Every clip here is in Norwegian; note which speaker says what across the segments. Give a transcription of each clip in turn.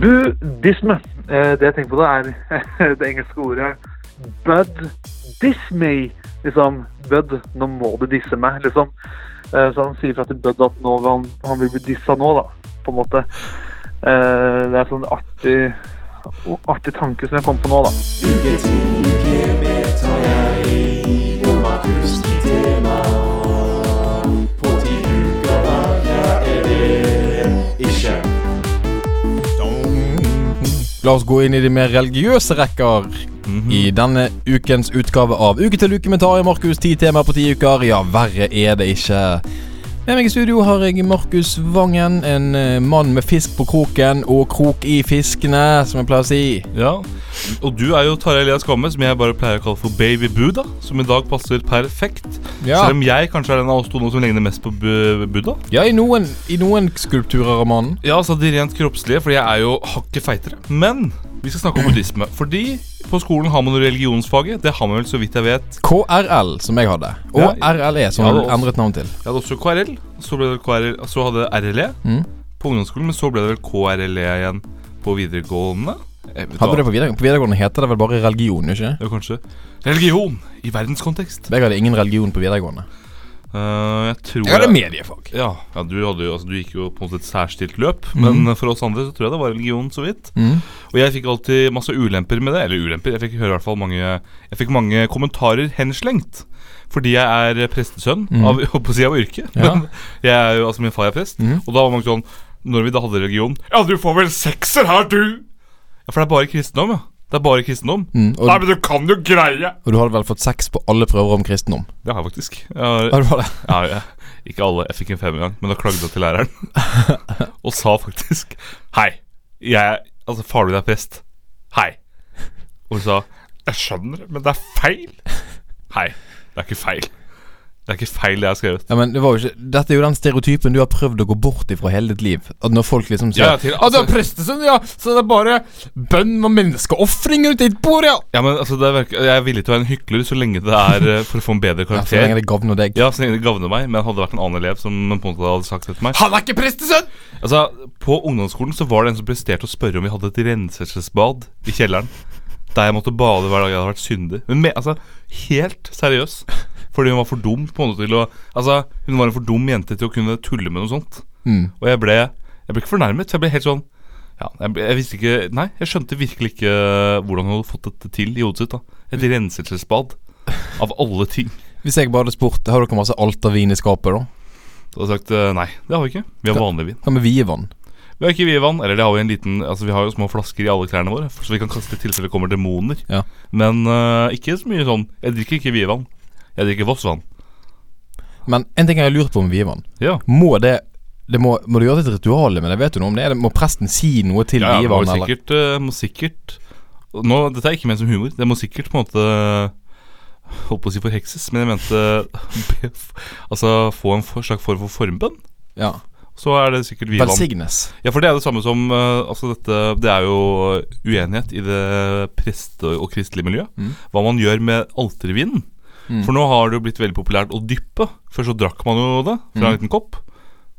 Speaker 1: Buddhisme. Eh, Det jeg tenker på da, er det engelske ordet bud diss me. Liksom, bud, nå må du disse meg, liksom. Eh, Så han sier fra til bud at nå vil han, han vil bli dissa nå, da, på en måte. Eh, Det er sånn artig, artig tanke som jeg kom på nå, da.
Speaker 2: La oss gå inn i de mer religiøse rekker
Speaker 3: Mhm.
Speaker 2: i denne ukens utgave av Uke til uke med Tarjei Markus. Ti temaer på ti uker. Ja, verre er det ikke. Med meg i studio har jeg Markus Vangen, en eh, mann med fisk på kroken og krok i fiskene, som jeg pleier å si.
Speaker 3: Ja, og du er jo Tarjei Elias Kvamme, som jeg bare pleier å kalle for Baby Buddha. Som i dag passer perfekt.
Speaker 2: Ja,
Speaker 3: Selv om jeg kanskje er den av oss to nå som ligner mest på Bu- Buddha.
Speaker 2: ja i, noen, i noen skulpturer av mannen.
Speaker 3: Ja, altså de rent kroppslige, fordi jeg er jo hakket feitere. Men vi skal snakke om buddhisme. Fordi på skolen har man jo religionsfaget. Det har man vel, så vidt jeg vet.
Speaker 2: KRL, som jeg hadde. Og
Speaker 3: Ja.
Speaker 2: RLE, E, som
Speaker 3: Ja,
Speaker 2: jeg
Speaker 3: det-
Speaker 2: endret navn til.
Speaker 3: Jeg hadde også KRL, så, ble det KRL, så hadde jeg RLE
Speaker 2: Mhm.
Speaker 3: på ungdomsskolen, men så ble det vel KRLE E igjen på videregående. Jeg
Speaker 2: Hadde
Speaker 3: vet
Speaker 2: du
Speaker 3: hva.
Speaker 2: det på videregående? På videregående heter det vel bare religion, ikke?
Speaker 3: Ja, kanskje. Religion i verdenskontekst.
Speaker 2: Jeg hadde ingen religion på videregående.
Speaker 3: Uh, jeg tror
Speaker 2: Jeg hadde mediefag.
Speaker 3: Ja, ja du, hadde jo, altså, du gikk jo på en måte et særstilt løp, men eh, for oss andre så tror jeg det var religion så vidt.
Speaker 2: Mhm.
Speaker 3: Og jeg fikk alltid masse ulemper med det, eller ulemper, jeg fikk høre i hvert fall mange, jeg fikk mange kommentarer henslengt. Fordi jeg er eh, prestesønn,
Speaker 2: Mhm.
Speaker 3: av, jeg holdt på å si av yrke,
Speaker 2: Ja.
Speaker 3: men jeg er jo, altså min far er prest,
Speaker 2: Mhm.
Speaker 3: og da var man sånn, når vi da hadde religion, ja du får vel sekser her du! Ja, for det er bare kristendom, ja. Det er bare kristendom.
Speaker 2: Mm, og,
Speaker 3: Nei, men du kan jo greie!
Speaker 2: og du hadde vel fått sex på alle prøver om kristendom?
Speaker 3: Det har jeg faktisk. Jeg har,
Speaker 2: Ja, du hadde.
Speaker 3: Ja, ja. Ikke alle. Jeg fikk en femmer gang, men da klagde jeg til læreren. og sa faktisk Hei, jeg Altså, far din er prest. Hei. Og hun sa Jeg skjønner, men det er feil. Hei. Det er ikke feil. Det er ikke feil, det jeg har skrevet.
Speaker 2: Ja, men det var jo ikke Dette er jo den stereotypen du har prøvd å gå bort ifra hele ditt liv. At når folk liksom sier
Speaker 3: Ja, ja, til- altså-
Speaker 2: prestesønn, sånn, ja, så det er bare bønn og menneskeofringer ute i et bord, ja!
Speaker 3: Ja, men altså, det er, virke- Jeg er villig til å være en hykler så lenge det er eh, for å få en bedre
Speaker 2: ja så lenge
Speaker 3: karakter.
Speaker 2: det gagner deg.
Speaker 3: Ja, så lenge det gavner meg, men hadde det vært en annen elev som på en måte hadde sagt det til meg
Speaker 2: Han er ikke prestesønn!
Speaker 3: Altså, På ungdomsskolen så var det en som presterte å spørre om vi hadde et renselsesbad i kjelleren. Der jeg måtte bade hver dag jeg hadde vært syndig. Men me, altså, Helt seriøs. Fordi hun var for dum på en måte til å Altså, hun var en for dum jente til å kunne tulle med noe sånt.
Speaker 2: Mm.
Speaker 3: Og jeg ble Jeg ble ikke fornærmet. for Jeg ble helt sånn ja, jeg, ble- jeg visste ikke Nei, jeg skjønte virkelig ikke hvordan hun hadde fått dette til i hodet sitt. da Et renselsesbad. Av alle ting.
Speaker 2: Hvis jeg bare hadde spurt Har dere masse altervin i skapet, da?
Speaker 3: Så hadde jeg sagt eh, nei, det har vi ikke. Vi har vanlig vin.
Speaker 2: Hva med vievann?
Speaker 3: Vi har ikke vievann, eller det har vi en liten Altså vi har jo små flasker i alle klærne våre, så vi kan kaste i tilfelle det kommer demoner.
Speaker 2: Ja.
Speaker 3: Men øh, ikke så mye sånn Jeg drikker ikke vievann. Jeg drikker Vossvann.
Speaker 2: Men en ting jeg har lurt på med vievann.
Speaker 3: Ja.
Speaker 2: Må det det må, må du gjøre et ritual med det? Vet du noe om det? Er det- Må presten si noe til
Speaker 3: Ja, ja, må
Speaker 2: vievann, eller?
Speaker 3: sikkert, øh, må sikkert nå, Dette er ikke ment som humor. Det må sikkert på en måte Holdt på å si forhekses, men jeg mente be, Altså få en for, slags form for formbønn.
Speaker 2: Ja.
Speaker 3: Så er det sikkert vievann.
Speaker 2: Velsignes.
Speaker 3: Ja, for det er det samme som øh, Altså dette Det er jo eh, uenighet i det preste- og kristelige miljø.
Speaker 2: Mm.
Speaker 3: Hva man gjør med altervinen.
Speaker 2: Mm.
Speaker 3: For nå har det jo blitt veldig populært å dyppe. Før så drakk man jo det fra
Speaker 2: Mm.
Speaker 3: en liten kopp.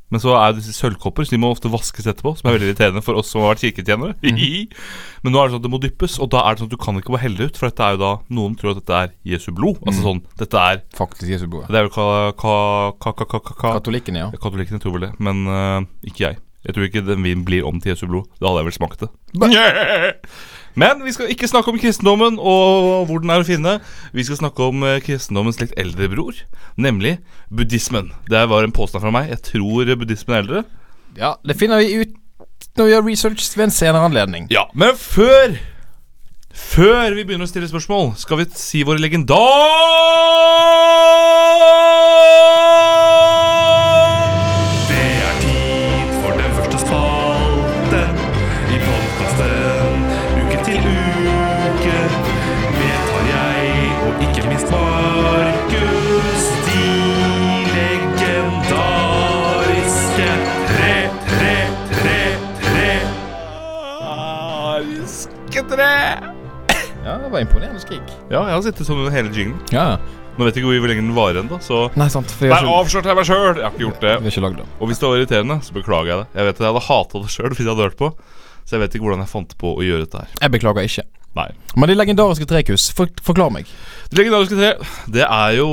Speaker 3: Men så er det disse sølvkopper, så de må ofte vaskes etterpå. Som er veldig irriterende for oss som har vært kirketjenere.
Speaker 2: Mm.
Speaker 3: Men nå er det sånn at det må dyppes, og da er det sånn at du kan ikke bare helle det ut. For dette er jo da noen tror at dette er Jesu blod.
Speaker 2: Mm.
Speaker 3: Altså sånn, dette er
Speaker 2: Faktisk Jesu blod.
Speaker 3: Det er jo ka, ka, ka, ka, ka, ka, ka.
Speaker 2: Katolikkene, ja.
Speaker 3: Katolikkene tror vel det, men øh, ikke jeg. Jeg tror ikke den vinen blir om til Jesu blod. Da hadde jeg vel smakt det. Men vi skal ikke snakke om kristendommen og hvor den er å finne. Vi skal snakke om eh, kristendommens litt eldre bror, nemlig buddhismen. Det var en påstand fra meg. Jeg tror buddhismen er eldre.
Speaker 2: Ja, det finner vi ut når vi gjør research ved en senere anledning.
Speaker 3: Ja, Men før Før vi begynner å stille spørsmål, skal vi si våre legendar...
Speaker 4: Det er tid for den første spalte i podkasten Uke til uke. Vedtar jeg, og ikke minst Markus, de legendariske tre, tre, tre, tre.
Speaker 2: Ja, det var imponerende skrik.
Speaker 3: Ja, jeg har sittet sånn under hele jinglen.
Speaker 2: Ja,
Speaker 3: Nå vet jeg ikke hvor hvor lenge den varer ennå, så
Speaker 2: Nei, sant. For vi
Speaker 3: Der
Speaker 2: har ikke,
Speaker 3: avslørte jeg meg sjøl! Jeg har ikke gjort det.
Speaker 2: vi har ikke lagd det.
Speaker 3: Og hvis det var irriterende, så beklager jeg det. Jeg vet at jeg hadde hata det sjøl hvis jeg hadde hørt på. Så jeg vet ikke hvordan jeg fant på å gjøre dette her.
Speaker 2: Jeg beklager ikke.
Speaker 3: Nei.
Speaker 2: Men de legendariske trekuss, for, forklar meg.
Speaker 3: Det legendariske tre, det er jo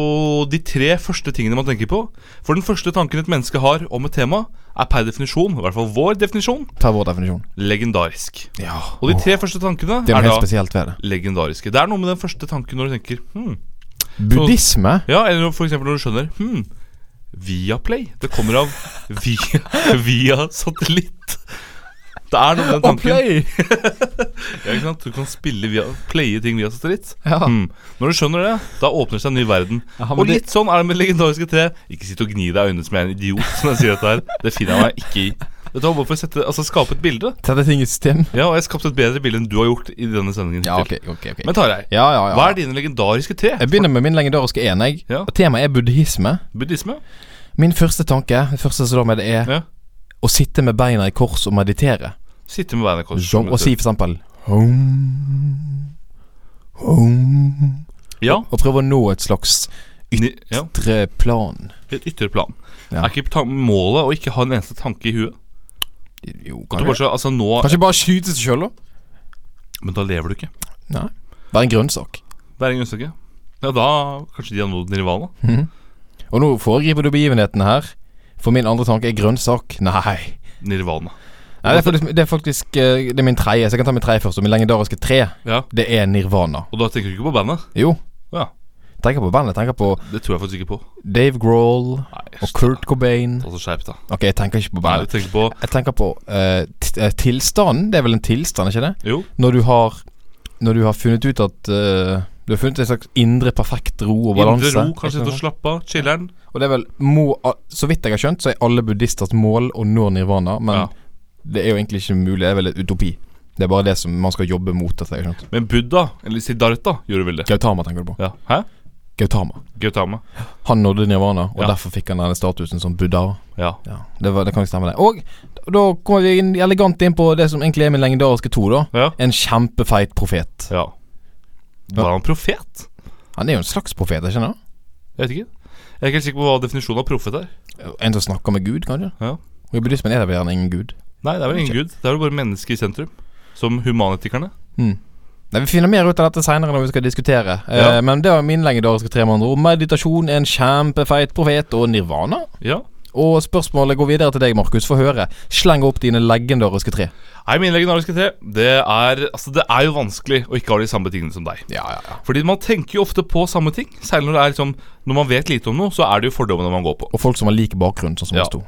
Speaker 3: de tre første tingene man tenker på. For den første tanken et menneske har om et tema, er per definisjon, i hvert fall vår definisjon,
Speaker 2: Ta vår definisjon.
Speaker 3: legendarisk.
Speaker 2: Ja.
Speaker 3: Og de tre første tankene
Speaker 2: det er
Speaker 3: er
Speaker 2: noe
Speaker 3: da
Speaker 2: helt spesielt ved det.
Speaker 3: legendariske. Det er noe med den første tanken når du tenker hm.
Speaker 2: Buddhisme?
Speaker 3: Ja, eller for eksempel når du skjønner hm. Viaplay. Det kommer av via, via satellitt. Det er noe med den
Speaker 2: Og
Speaker 3: tanken.
Speaker 2: play!
Speaker 3: Ja, ikke sant? Du kan spille via, playe ting via satellitt.
Speaker 2: Ja.
Speaker 3: Mm. Når du skjønner det, da åpner det seg en ny verden.
Speaker 2: Ja, men
Speaker 3: og
Speaker 2: det-
Speaker 3: litt sånn er det med legendariske tre. Ikke sitt og gni deg i øynene som jeg er en idiot som jeg sier dette her. Det finner jeg meg ikke i. Dette var bare for å sette, altså, skape et bilde.
Speaker 2: Tette ting i system?
Speaker 3: Ja, og jeg skapte et bedre bilde enn du har gjort i denne sendingen.
Speaker 2: Ja, ok,
Speaker 3: hittil.
Speaker 2: ok. ok
Speaker 3: Men Tarjei,
Speaker 2: Ja, ja, ja.
Speaker 3: hva er dine legendariske tre?
Speaker 2: Jeg begynner med min legendariske én. jeg.
Speaker 3: Ja.
Speaker 2: Og Temaet er buddhisme.
Speaker 3: Buddhisme?
Speaker 2: Min første tanke det første som da med det er
Speaker 3: Ja.
Speaker 2: å sitte med beina i kors og meditere.
Speaker 3: Sitte med beina i kors.
Speaker 2: Som, og si for eksempel Home, home,
Speaker 3: Ja.
Speaker 2: Og prøve å nå et slags
Speaker 3: Ni- ja.
Speaker 2: ytre plan.
Speaker 3: Et ytre plan.
Speaker 2: Ja.
Speaker 3: Er ikke ta- målet å ikke ha en eneste tanke i huet?
Speaker 2: Jo,
Speaker 3: At du bare så, altså nå
Speaker 2: Kanskje bare skyte seg sjøl, da?
Speaker 3: Men da lever du ikke.
Speaker 2: Nei. Være en grønnsak.
Speaker 3: Det er ingen usikker. Ja, da kanskje de har nådd nirvana.
Speaker 2: Og nå foregriper du begivenheten her. For min andre tanke er grønnsak. Nei.
Speaker 3: Nirvana.
Speaker 2: Nei det, er faktisk, det er faktisk eh, Det er min tredje, så jeg kan ta min tredje først. Og min legendariske tre,
Speaker 3: Ja,
Speaker 2: det er nirvana.
Speaker 3: Og da tenker du ikke på bandet?
Speaker 2: Jo,
Speaker 3: Ja,
Speaker 2: tenker på bandet. Tenker på
Speaker 3: Det tror jeg faktisk ikke på.
Speaker 2: Dave Grohl
Speaker 3: Nei,
Speaker 2: og Kurt Cobain.
Speaker 3: Altså Skjerp deg.
Speaker 2: Ok, jeg tenker ikke på
Speaker 3: Nei, du
Speaker 2: bandet.
Speaker 3: tenker på
Speaker 2: Jeg tenker på eh, t- eh, tilstanden. Det er vel en tilstand, ikke det?
Speaker 3: Jo,
Speaker 2: Når du har Når du har funnet ut at eh, Du har funnet en slags indre perfekt ro og balanse.
Speaker 3: indre ro, kanskje sitte og slappe av, chiller'n.
Speaker 2: Og det er vel må, a- Så vidt jeg har skjønt, så er alle buddhisters mål å nå nirvana. Men
Speaker 3: Ja.
Speaker 2: det er jo egentlig ikke mulig. Det er vel et utopi. Det er bare det som man skal jobbe mot. Etter, jeg har skjønt.
Speaker 3: Men Buddha, eller Siddhartha, gjorde vel det?
Speaker 2: Gautama tenker du på.
Speaker 3: Ja. Hæ?
Speaker 2: Gautama.
Speaker 3: Gautama.
Speaker 2: Han nådde nirvana, og
Speaker 3: Ja.
Speaker 2: derfor fikk han denne statusen som buddha.
Speaker 3: Ja.
Speaker 2: Ja, det, var, det kan ikke stemme, det. Og da kommer vi inn, elegant inn på det som egentlig er min legendariske to, da.
Speaker 3: Ja.
Speaker 2: En kjempefeit profet.
Speaker 3: ja. Var han profet?
Speaker 2: Han er jo en slags profet, er ikke han? det?
Speaker 3: Jeg vet ikke. Jeg er ikke helt sikker på hva definisjonen av profet er.
Speaker 2: En som snakker med Gud, kanskje?
Speaker 3: Ja.
Speaker 2: Og I buddhismen er det vel gjerne ingen gud.
Speaker 3: Nei, det er vel ingen gud. Det er vel bare mennesket i sentrum. Som humanetikerne.
Speaker 2: Nei, Vi finner mer ut av dette seinere når vi skal diskutere.
Speaker 3: Ja.
Speaker 2: Eh, men det var min legendariske tre med andre ord. Meditasjon, en kjempefeit profet og nirvana.
Speaker 3: Ja.
Speaker 2: Og spørsmålet går videre til deg, Markus. Få høre. Sleng opp dine legendariske tre.
Speaker 3: Nei, mine legendariske tre, det er Altså, det er jo vanskelig å ikke ha de samme tingene som deg.
Speaker 2: Ja, ja, ja.
Speaker 3: Fordi man tenker jo ofte på samme ting. Særlig når det er liksom Når man vet lite om noe, så er det jo fordommene man går på.
Speaker 2: Og folk som har lik bakgrunn, sånn som
Speaker 3: Ja.
Speaker 2: oss to.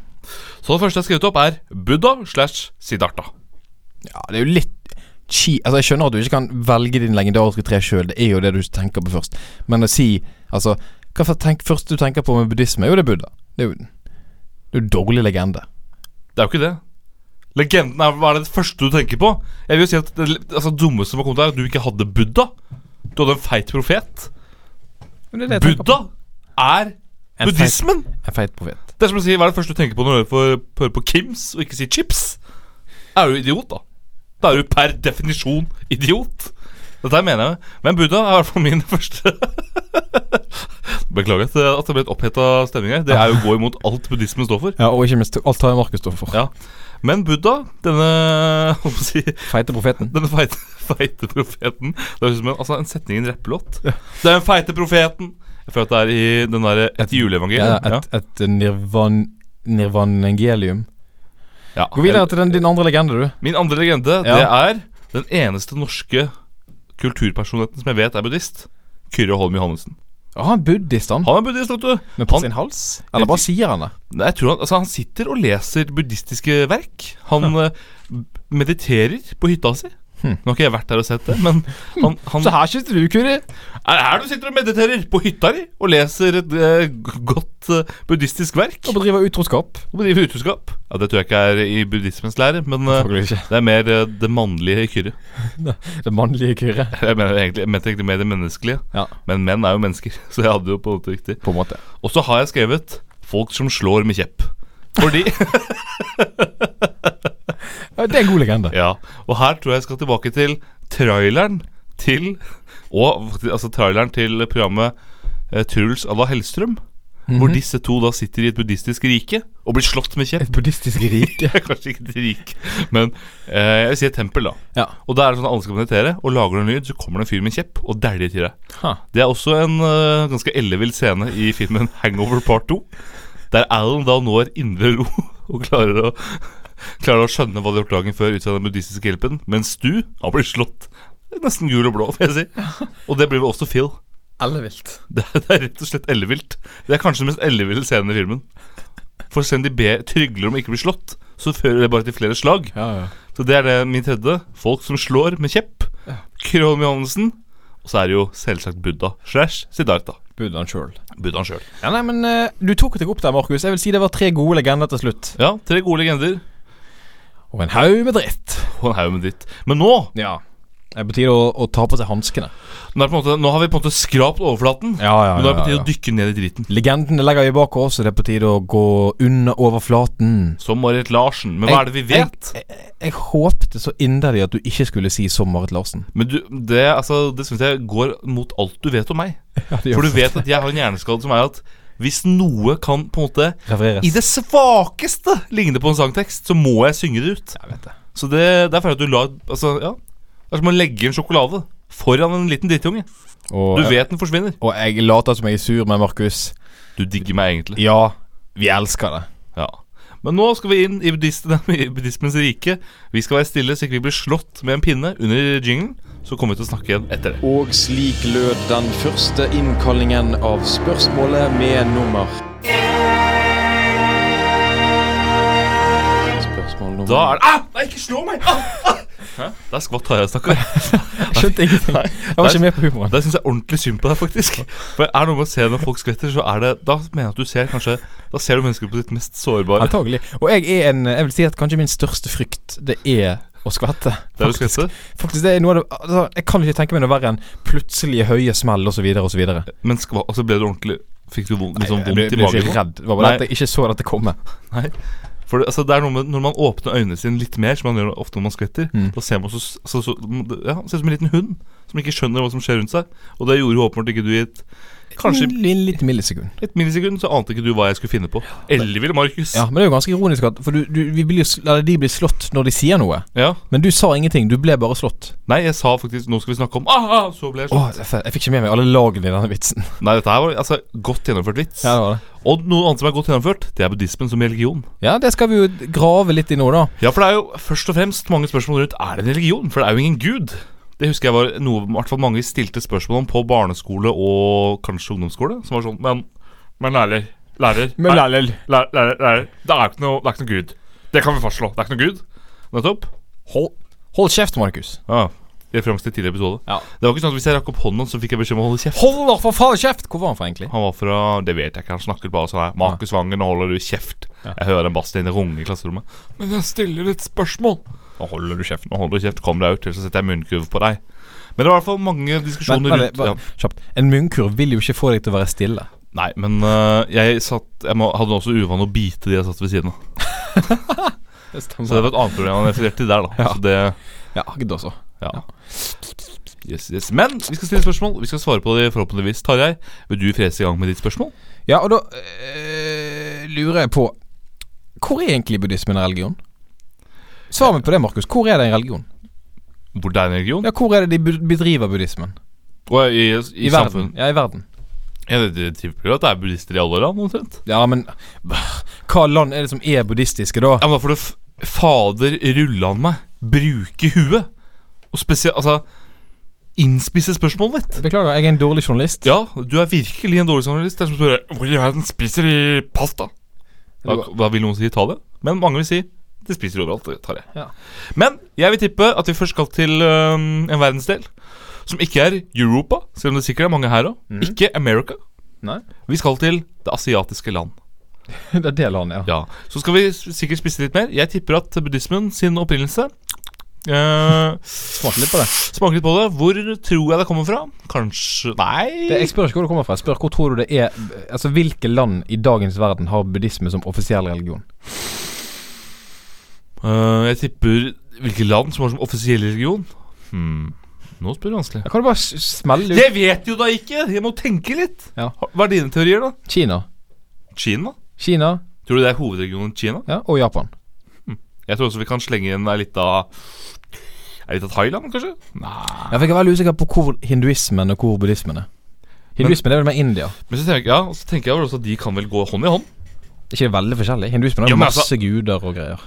Speaker 3: Så det første jeg har skrevet opp, er Buddha slash Siddhartha.
Speaker 2: Ja, det er jo litt chi... Altså, jeg skjønner at du ikke kan velge dine legendariske tre sjøl, det er jo det du tenker på først. Men å si Altså, hva for tenk, først du tenker på med buddhisme? Jo, det er Buddha. Det er jo det er jo dårlig legende.
Speaker 3: Det er jo ikke det. Legenden er hva er det første du tenker på. Jeg vil jo si at Det altså, det dummeste som har kommet, er at du ikke hadde Buddha. Du hadde en feit profet. Buddha er
Speaker 2: En feit-
Speaker 3: buddhismen.
Speaker 2: En feit profet.
Speaker 3: Det er som å si hva er det første du tenker på når du hører på, hører på Kims, og ikke sier chips. Er du idiot, da? Da er du per definisjon idiot. Dette her mener jeg. Men Buddha er i hvert fall min første. Beklager at det- at det ble et oppheta stemning her. Det er jo å gå imot alt buddhismen står for.
Speaker 2: Ja, og ikke minst alt har Markus stått for.
Speaker 3: Ja. Men Buddha, denne hva skal jeg si,
Speaker 2: Feite profeten.
Speaker 3: denne feite, feite profeten Det høres ut som en, altså en setning i en rappelåt. Den feite profeten! Jeg føler at det er i den der, et
Speaker 2: Ja,
Speaker 3: juleevangelium. Ja,
Speaker 2: et et nirvan, nirvanangelium.
Speaker 3: ja.
Speaker 2: Gå videre til den, din andre legende, du.
Speaker 3: Min andre legende, det
Speaker 2: Ja.
Speaker 3: er den eneste norske kulturpersonligheten som jeg vet er buddhist. Kyrre Holm Johannessen.
Speaker 2: Ja, han er buddhist, han.
Speaker 3: Han er buddhist, vet du.
Speaker 2: Men på
Speaker 3: han-
Speaker 2: sin hals? Eller bare sier han det?
Speaker 3: Nei, Jeg tror han, altså, han sitter og leser buddhistiske verk. Han eh, mediterer på hytta si. Nå har ikke jeg vært der og sett det, men han, han
Speaker 2: her sitter du, Kuri.
Speaker 3: Er det her du sitter og mediterer? På hytta di? Og leser et eh, g- godt eh, buddhistisk verk?
Speaker 2: Og bedriver utroskap.
Speaker 3: Og bedriver utroskap? Ja, det tror jeg ikke er i buddhismens lære, men eh,
Speaker 2: Selvfølgelig ikke.
Speaker 3: det er mer eh, det mannlige i Kyrre.
Speaker 2: Det mannlige Kyrre.
Speaker 3: Jeg mener egentlig, jeg mente egentlig mer det menneskelige,
Speaker 2: Ja,
Speaker 3: men menn er jo mennesker, så jeg hadde jo på en måte riktig.
Speaker 2: på en måte.
Speaker 3: Og så har jeg skrevet 'folk som slår med kjepp'. Fordi
Speaker 2: Ja, det er en god legende.
Speaker 3: Ja. Og her tror jeg jeg skal tilbake til traileren til Og faktisk- altså traileren til programmet eh, Truls à la Hellstrøm. Hvor disse to da sitter i et buddhistisk rike og blir slått med kjepp.
Speaker 2: Et buddhistisk rike.
Speaker 3: Kanskje ikke et rike, men eh, jeg vil si et tempel, da.
Speaker 2: ja.
Speaker 3: Og da er det sånn at alle skal meditere, og lager du en lyd, så kommer det en fyr med kjepp og dæljer til deg.
Speaker 2: Ha.
Speaker 3: Det er også en eh, ganske ellevill scene i filmen Hangover Part 2, der Alan da når indre ro og klarer å, klarer å skjønne hva de har gjort dagen før ut fra den buddhistiske hjelpen, mens Stu han blir slått nesten gul og blå, får jeg si. Og det blir vel også Phil.
Speaker 2: Ellevilt.
Speaker 3: Det er, det er rett og slett ellevilt. Det er kanskje den mest elleville scenen i filmen. For selv om de ber trygler om ikke å bli slått, så fører det bare til flere slag.
Speaker 2: Ja, ja.
Speaker 3: Så det er det min tredje. Folk som slår med kjepp. Krolm Johannessen. Og så er det jo selvsagt Buddha slash Siddhartha.
Speaker 2: Buddhaen sjøl.
Speaker 3: Buddhaen sjøl.
Speaker 2: Ja, nei, men eh, du tok deg opp der, Markus. Jeg vil si det var tre gode legender til slutt.
Speaker 3: Ja, tre gode legender
Speaker 2: Og en haug med dritt.
Speaker 3: og en haug med dritt. Men nå
Speaker 2: Ja. Det er på tide å, å ta på seg hanskene.
Speaker 3: nå, er det på en måte, nå har vi på en måte skrapt overflaten.
Speaker 2: Ja, ja,
Speaker 3: Men nå er det på
Speaker 2: ja,
Speaker 3: tide
Speaker 2: ja.
Speaker 3: å dykke ned i driten.
Speaker 2: Legendene legger vi bak oss, og det er på tide å gå under overflaten.
Speaker 3: Som Marit Larsen. Men hva er det vi vet?
Speaker 2: Jeg, jeg, jeg håpte så inderlig at du ikke skulle si som Marit Larsen.
Speaker 3: Men du, det, altså, det syns jeg går mot alt du vet om meg. For du vet at jeg har en hjerneskade som er at hvis noe kan på en måte i
Speaker 2: Refereres.
Speaker 3: det svakeste ligne på en sangtekst, så må jeg synge det ut.
Speaker 2: Jeg vet det.
Speaker 3: Så det, det er fordi at du la Altså, ja. Det er som å legge en sjokolade foran en liten drittunge.
Speaker 2: Og,
Speaker 3: Du vet den forsvinner.
Speaker 2: og jeg later som jeg er sur, men Markus
Speaker 3: Du digger meg egentlig.
Speaker 2: Ja, vi elsker det.
Speaker 3: Ja. Men nå skal vi inn i, buddhistene, i buddhismens rike. Vi skal være stille så ikke vi blir slått med en pinne under jinglen. Så kommer vi til å snakke igjen etter det.
Speaker 5: Og slik lød den første innkallingen av spørsmålet med nummer. Spørsmål nummer
Speaker 3: Da er det ah, Nei, ikke slå meg! Ah, ah! Hæ? Der skvatt Harald, stakkar.
Speaker 2: Jeg skjønte ingenting. Jeg var ikke med på humoren.
Speaker 3: Der syns jeg ordentlig synd på deg, faktisk. For er det noe med å se når folk skvetter, så er det Da mener jeg at du ser kanskje Da ser du mennesker på ditt mest sårbare.
Speaker 2: Antagelig. Og jeg er en Jeg vil si at kanskje min største frykt, det er å skvette.
Speaker 3: Der du skvetter.
Speaker 2: Faktisk, det er noe av det altså, Jeg kan ikke tenke meg noe verre enn plutselige høye smell osv. osv.
Speaker 3: Men skva, altså ble du ordentlig Fikk du vondt, litt sånn
Speaker 2: Jeg ble-
Speaker 3: vondt i
Speaker 2: ble
Speaker 3: magen?
Speaker 2: ikke
Speaker 3: nå?
Speaker 2: redd. Det var bare
Speaker 3: Nei.
Speaker 2: det at jeg ikke så dette komme.
Speaker 3: Nei. For det, altså, det er noe med Når man åpner øynene sine litt mer, som man gjør ofte når man skvetter,
Speaker 2: Mm.
Speaker 3: da ser man så, så, så, ja, ser ut som en liten hund som ikke skjønner hva som skjer rundt seg. Og det gjorde jo åpenbart ikke du i et Kanskje
Speaker 2: Kanskje et lite millisekund.
Speaker 3: et millisekund, så ante ikke du hva jeg skulle finne på. Elleville Markus.
Speaker 2: Ja, Men det er jo ganske ironisk, at for du, du, vi blir, jo sl- eller de blir slått når de sier noe.
Speaker 3: Ja.
Speaker 2: Men du sa ingenting. Du ble bare slått.
Speaker 3: Nei, jeg sa faktisk 'nå skal vi snakke om ah, ah, Så ble jeg
Speaker 2: Åh,
Speaker 3: slått.
Speaker 2: jeg f- jeg fikk ikke med meg alle lagene i denne vitsen.
Speaker 3: Nei, dette her var altså godt gjennomført vits.
Speaker 2: Ja, det var det.
Speaker 3: Og noe annet som er godt gjennomført, det er buddhismen som religion.
Speaker 2: Ja, det skal vi jo grave litt i nå, da.
Speaker 3: Ja, for det er jo først og fremst mange spørsmål rundt Er det en religion? For det er jo ingen gud Det husker jeg var noe i hvert fall mange stilte spørsmål om På barneskole og kanskje ungdomsskole Som var sånn, men, men lærer Lærer, nei,
Speaker 2: Lallel.
Speaker 3: lærer, lærer, lærer det, er ikke noe, det er ikke noe gud Det kan vi fastslå, det er ikke noe gud Nettopp
Speaker 2: Hold, hold kjeft, Markus.
Speaker 3: Ja, i referanse til tidligere episode
Speaker 2: Ja.
Speaker 3: Det var ikke sånn at hvis jeg rakk opp hånden Så fikk jeg beskjed om å holde kjeft
Speaker 2: Hold da for faen kjeft! Hvor var han fra, egentlig?
Speaker 3: Han var fra, det vet jeg ikke, han snakket bare sånn her Markus Vangen, nå holder du kjeft Jeg hører en basslinje runge i klasserommet Men jeg stiller et spørsmål Nå holder du kjeft, nå holder du kjeft Kom deg ut, ellers så setter jeg munnkurv på deg Men det var i hvert fall mange
Speaker 2: Men,
Speaker 3: diskusjoner
Speaker 2: men, det-
Speaker 3: rundt
Speaker 2: bare,
Speaker 3: ja.
Speaker 2: kjapt. En munnkurv vil jo ikke få deg til å være stille.
Speaker 3: Nei, men øh, jeg, satt, jeg må, hadde også uvan å bite de jeg satt ved siden av Så det var et annet problem han refererte til der da
Speaker 2: Ja.
Speaker 3: Så det,
Speaker 2: Ja, Agder også.
Speaker 3: ja Yes, yes. Men vi skal stille spørsmål Vi skal svare på det forhåpentligvis Tarjei, vil du frese i gang med ditt spørsmål?
Speaker 2: Ja, og da øh, lurer jeg på Hvor er egentlig buddhismen en religion? Svar meg på det, Markus. Hvor er det en religion?
Speaker 3: Hvor det er en religion?
Speaker 2: Ja, Hvor er det de bu- bedriver buddhismen?
Speaker 3: Og i, i,
Speaker 2: I, verden.
Speaker 3: samfunnet.
Speaker 2: Ja, i verden.
Speaker 3: Ja, det, det, det, det er buddhister i alle land omtrent
Speaker 2: Ja, men brr, Hva land er det som er buddhistiske, da?
Speaker 3: Ja, men da får du f Fader rulle han meg Bruke huet Og spesielt, altså Innspisse spørsmålet ditt
Speaker 2: Beklager, jeg er en dårlig journalist.
Speaker 3: Ja, du er virkelig en dårlig journalist Det er som spør Hvor i verden spiser de pasta? Da, da vil noen si Italia Men mange vil si De spiser overalt Det tar jeg
Speaker 2: Ja.
Speaker 3: Men jeg vil tippe at vi først skal til øhm, en verdensdel Som ikke er Europa Selv om det sikkert er mange her også Ikke America
Speaker 2: Nei.
Speaker 3: Vi skal til det asiatiske land
Speaker 2: det er det landet, ja.
Speaker 3: ja, Så skal vi s- sikkert spise litt mer. Jeg tipper at buddhismen sin opprinnelse eh,
Speaker 2: Smak litt på det.
Speaker 3: Smaker litt på det. Hvor tror jeg det kommer fra? Kanskje Nei.
Speaker 2: det. Jeg spør ikke hvor det kommer fra. Jeg spør hvor tror du det er Altså, Hvilke land i dagens verden har buddhisme som offisiell religion?
Speaker 3: Eh, jeg tipper hvilke land som har som offisiell religion. Hmm. Nå spør du vanskelig.
Speaker 2: Da kan du bare s- smelle ut
Speaker 3: Jeg vet jo da ikke! Jeg må tenke litt.
Speaker 2: Ja.
Speaker 3: Hva er dine teorier, da?
Speaker 2: Kina.
Speaker 3: Kina?
Speaker 2: Kina
Speaker 3: Tror du det er hovedregionen Kina?
Speaker 2: ja, og Japan.
Speaker 3: Jeg tror også vi kan slenge inn ei lita Ei lita Thailand, kanskje? Nei
Speaker 2: Jeg fikk være veldig usikker på hvor hinduismen og hvor buddhismen er. Hinduismen er vel mer India.
Speaker 3: Men så tenker, jeg- ja, og så tenker jeg vel også at de kan vel gå hånd i hånd.
Speaker 2: Er Ikke det veldig forskjellig? Hinduismen har
Speaker 3: Jo, men
Speaker 2: masse
Speaker 3: altså-
Speaker 2: guder og greier.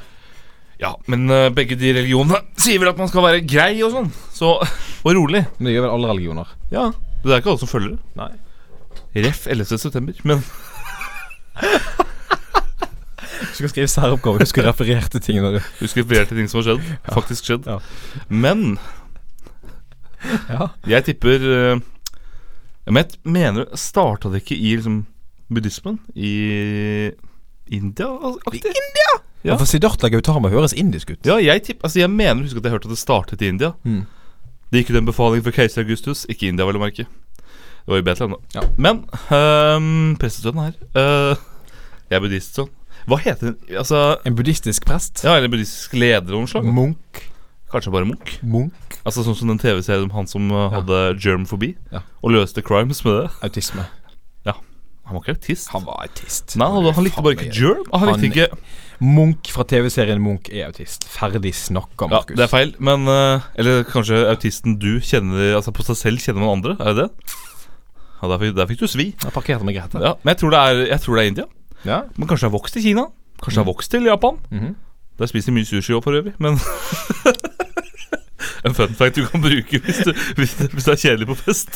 Speaker 3: Ja, men eh, begge de religionene sier vel at man skal være grei og sånn. Så Og rolig.
Speaker 2: Men det gjør vel alle religioner.
Speaker 3: Ja, Det er ikke alle som følger det.
Speaker 2: Nei.
Speaker 3: Ref 11. september. Men
Speaker 2: Du skal skrive særoppgave, du skulle referere til ting. Når du...
Speaker 3: husk referere til ting som har skjedd. Faktisk skjedd.
Speaker 2: Ja.
Speaker 3: Men
Speaker 2: Ja.
Speaker 3: jeg tipper eh, ja, Men jeg mener Starta det ikke i liksom buddhismen? I India? I India? Ja.
Speaker 2: For Siddhartha Gautama høres indisk ut.
Speaker 3: Ja, jeg tipper Altså, jeg mener Husk at jeg hørte at det startet i India.
Speaker 2: Mm.
Speaker 3: Det gikk ut en befaling fra keiser Augustus. Ikke i India, vel å merke. Det var i Betlehem, da.
Speaker 2: Ja.
Speaker 3: Men um, prestesønnen her eh, Jeg er buddhist, sånn. Hva heter den Altså
Speaker 2: En buddhistisk prest?
Speaker 3: Ja, eller buddhistisk leder av noe
Speaker 2: Mm.
Speaker 3: slag?
Speaker 2: Munk?
Speaker 3: Kanskje bare munk?
Speaker 2: Munk?
Speaker 3: Altså Sånn som den TV-serien om han som eh, hadde germfobi,
Speaker 2: Ja.
Speaker 3: og løste crimes med det.
Speaker 2: Autisme.
Speaker 3: Han var ikke autist.
Speaker 2: Han var autist.
Speaker 3: Nei, han, han likte bare ikke germ. Ah, Han,
Speaker 2: Han-
Speaker 3: likte ikke
Speaker 2: Munch fra TV-serien Munch er autist. Ferdig snakka,
Speaker 3: Ja,
Speaker 2: Markus.
Speaker 3: det er feil, men eh, Eller kanskje autisten du kjenner Altså på seg selv kjenner man andre, er det det? Ja, der fikk, der fikk du svi.
Speaker 2: Jeg parkerte meg greit her.
Speaker 3: Ja, men jeg tror, det er, jeg tror det er India.
Speaker 2: Ja.
Speaker 3: Men kanskje det har vokst i Kina? Kanskje det har vokst til Japan?
Speaker 2: Mhm.
Speaker 3: Der spiser de mye sushi òg, for øvrig, men En fun fact du kan bruke hvis, du, hvis, det- hvis det er kjedelig på fest.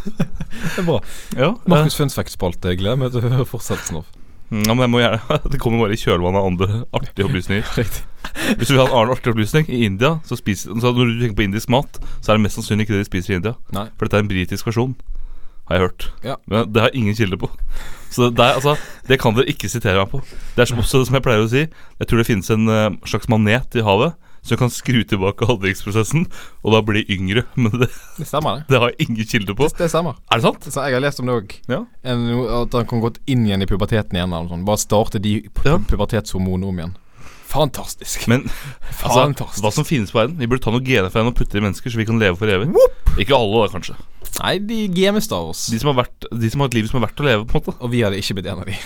Speaker 2: Det er bra.
Speaker 3: Ja,
Speaker 2: Markus Fun Fact-spalte. Jeg gleder meg til å høre fortsettelsen av.
Speaker 3: eh, ja, men jeg må gjerne Det kommer bare i kjølvannet av andre artige opplysninger.
Speaker 2: Riktig.
Speaker 3: Hvis du vil ha en annen artig opplysning I India, så spiser så Når du tenker på indisk mat, så er det mest sannsynlig ikke det de spiser i India.
Speaker 2: Nei.
Speaker 3: For dette er en britisk versjon, har jeg hørt.
Speaker 2: Ja.
Speaker 3: Men det har jeg ingen kilde på. Så det, er, altså, det kan dere ikke sitere meg på. Det er som, også, som jeg pleier å si, jeg tror det finnes en eh, slags manet i havet som kan skru tilbake aldringsprosessen, og da bli yngre. Men det,
Speaker 2: Det stemmer, det.
Speaker 3: det har jeg ingen kilde på.
Speaker 2: Det stemmer.
Speaker 3: Er det sant?
Speaker 2: Så jeg har lest om det òg.
Speaker 3: Ja.
Speaker 2: At han kan gått inn igjen i puberteten igjen. Eller noe sånt. Bare starte de pu-
Speaker 3: Ja.
Speaker 2: pubertetshormonene om igjen. Fantastisk.
Speaker 3: Men altså,
Speaker 2: Fantastisk.
Speaker 3: hva som finnes på verden Vi burde ta noen gener fra henne og putte i mennesker, så vi kan leve for evig. Ikke alle, da, kanskje.
Speaker 2: Nei, de games av oss.
Speaker 3: De som, har vært, de som har et liv som er verdt å leve, på en måte.
Speaker 2: Og vi hadde ikke blitt en av de.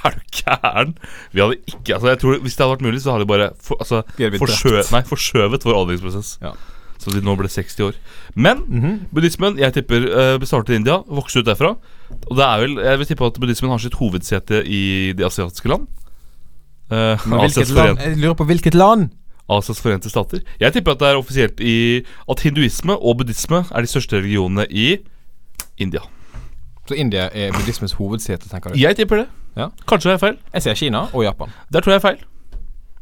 Speaker 3: Er du gæren? Vi hadde ikke altså, jeg tror, Hvis det hadde vært mulig, så hadde de bare for, altså,
Speaker 2: Vi hadde blitt
Speaker 3: forskjø nei, forskjøvet vår aldringsprosess.
Speaker 2: Ja. Mhm.
Speaker 3: Så de nå ble 60 år. Men buddhismen jeg tipper uh, startet i India, vokste ut derfra. Og det er vel, Jeg vil tippe at buddhismen har sitt hovedsete i de asiatiske land. Eh,
Speaker 2: Men
Speaker 3: Asias,
Speaker 2: hvilket land?
Speaker 3: forente,
Speaker 2: Jeg lurer på hvilket land?
Speaker 3: Asias forente stater. Jeg tipper at det er offisielt i at hinduisme og buddhisme er de største religionene i India.
Speaker 2: Så India er buddhismens hovedsete, tenker du?
Speaker 3: Jeg tipper det.
Speaker 2: Ja.
Speaker 3: Kanskje det er feil.
Speaker 2: Jeg ser Kina og Japan.
Speaker 3: Der tror jeg er feil.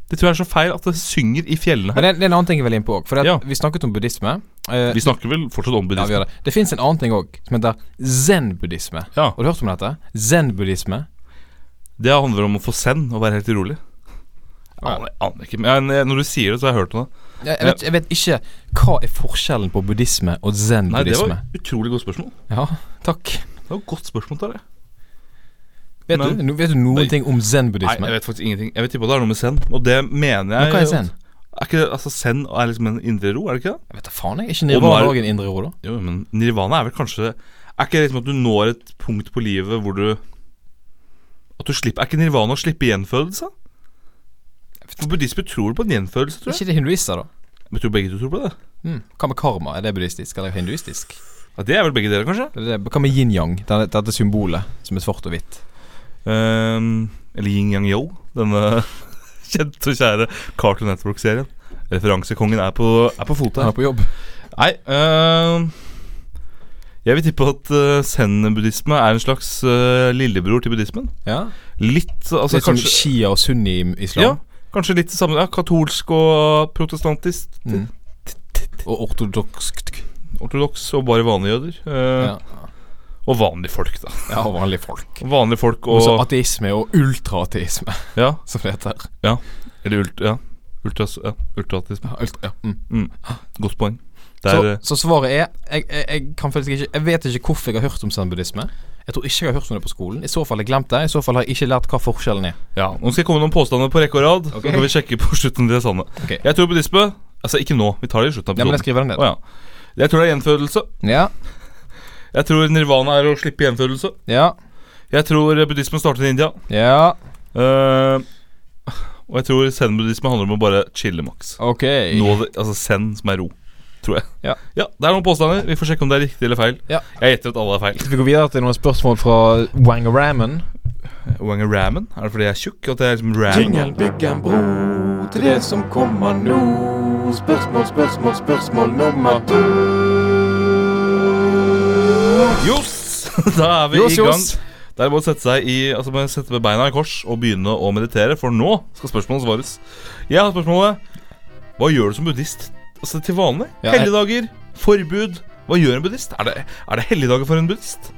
Speaker 3: Det tror jeg er så feil at det synger i fjellene her.
Speaker 2: Men det, det er en annen ting jeg vil inn på òg. For det, at
Speaker 3: Ja.
Speaker 2: vi snakket om buddhisme. Eh,
Speaker 3: Vi snakker vel fortsatt
Speaker 2: ja,
Speaker 3: om
Speaker 2: vi
Speaker 3: buddhisme?
Speaker 2: gjør det det fins en annen ting òg, som heter zen-buddhisme.
Speaker 3: Ja.
Speaker 2: Har du hørt om dette? Zen-buddhisme.
Speaker 3: det handler om å få send og være helt rolig. Jeg
Speaker 2: Ja.
Speaker 3: aner- aner ikke, men jeg- når du sier det, så har jeg hørt om det.
Speaker 2: Jeg, jeg, vet, jeg vet ikke hva er forskjellen på buddhisme og
Speaker 3: Nei, det var
Speaker 2: zen-buddhisme.
Speaker 3: utrolig godt spørsmål.
Speaker 2: Ja, takk.
Speaker 3: Det var et godt spørsmål der, jeg.
Speaker 2: Vet,
Speaker 3: Men-
Speaker 2: du, no, vet du noen
Speaker 3: Nei.
Speaker 2: ting om
Speaker 3: Nei,
Speaker 2: zen-buddhisme?
Speaker 3: jeg vet faktisk ingenting. Jeg vet ikke på at det er noe med send, og det mener
Speaker 2: Men
Speaker 3: jeg
Speaker 2: hva er zen?
Speaker 3: Er ikke det, altså Send er liksom en indre ro, er det ikke det?
Speaker 2: Jeg vet da faen, jeg. Er ikke
Speaker 3: Og nå er-
Speaker 2: nirvana òg en indre ro, da?
Speaker 3: Jo, men nirvana er vel kanskje Er ikke det liksom at du når et punkt på livet hvor du At du slipper Er ikke nirvana å slippe gjenfødelse? For buddhisme tror på en gjenfødelse, tror
Speaker 2: Er
Speaker 3: jeg.
Speaker 2: ikke det hinduister, da?
Speaker 3: Men tror begge to tror på det?
Speaker 2: Mm. Hva med karma? Er det buddhistisk eller hinduistisk?
Speaker 3: Ja, det er vel begge dere, kanskje?
Speaker 2: Det er det. Hva med yin-yang? Dette, dette symbolet som er svart og hvitt.
Speaker 3: Ehm, eller Yin Yang Yo, denne kjente og kjære Cartoon Network-serien. Referansekongen er på, er på fotet
Speaker 2: Han
Speaker 3: her.
Speaker 2: er på jobb.
Speaker 3: Nei ehm, Jeg vil tippe at uh, zen-buddhisme er en slags eh, lillebror til buddhismen.
Speaker 2: Ja.
Speaker 3: Litt altså
Speaker 2: Litt som
Speaker 3: kanskje,
Speaker 2: shia og sunni-islam.
Speaker 3: ja, kanskje litt det samme. Ja, katolsk og protestantisk.
Speaker 2: Mm. Og ortodokst
Speaker 3: Ortodoks og bare vanlige jøder. eh,
Speaker 2: ja.
Speaker 3: Og vanlige folk, da.
Speaker 2: ja, og vanlige folk.
Speaker 3: Vanlige folk
Speaker 2: Og så
Speaker 3: og
Speaker 2: ateisme og ultraateisme,
Speaker 3: Ja.
Speaker 2: som det heter.
Speaker 3: Eller ult, ja. Ultras, ja. Ultraatisme.
Speaker 2: Ja, ultra, ja. Mm.
Speaker 3: Godt poeng. Det er,
Speaker 2: Så,
Speaker 3: eh,
Speaker 2: så svaret er jeg, jeg, jeg kan faktisk ikke Jeg vet ikke hvorfor jeg har hørt om zen-buddhisme. Jeg tror ikke jeg har hørt om det på skolen. I så fall har jeg glemt det. I så fall har jeg ikke lært hva forskjellen er.
Speaker 3: Ja, Nå skal jeg komme med noen påstander på rekke og rad. Så kan vi sjekke på slutten om de er sanne.
Speaker 2: Ok.
Speaker 3: Jeg tror buddhisme Altså, ikke nå. Vi tar det i slutten av
Speaker 2: Ja, men jeg
Speaker 3: episoden.
Speaker 2: skriver den ned.
Speaker 3: Å, ja. Jeg tror det er gjenfødelse.
Speaker 2: Ja,
Speaker 3: Jeg tror nirvana er å slippe gjenfødelse.
Speaker 2: ja,
Speaker 3: Jeg tror eh, buddhismen startet i India.
Speaker 2: Ja,
Speaker 3: Eh, og jeg tror zen-buddhisme handler om å bare chille maks.
Speaker 2: OK.
Speaker 3: Nå, altså zen som er ro, tror jeg.
Speaker 2: Ja.
Speaker 3: Det er noen påstander. Vi får sjekke om det er riktig eller feil.
Speaker 2: Ja.
Speaker 3: Jeg gjetter at alle er feil.
Speaker 2: Skal vi gå videre til noen spørsmål fra Wangaraman?
Speaker 3: Wanger ramen? Er det fordi jeg er tjukk? At det er liksom ramen?
Speaker 5: Jingle bygg en bro til det som kommer nå. Spørsmål, spørsmål, spørsmål nummer to.
Speaker 3: Joss! Da er vi
Speaker 2: Joss,
Speaker 3: i gang.
Speaker 2: joss.
Speaker 3: Der må du sette seg i Altså må du sette med beina i kors og begynne å meditere, for nå skal spørsmålet svares. Jeg har spørsmålet Hva gjør du som buddhist Altså til vanlig?
Speaker 2: Ja, jeg-
Speaker 3: Helligdager? Forbud? Hva gjør en buddhist? Er det, er det helligdager for en buddhist?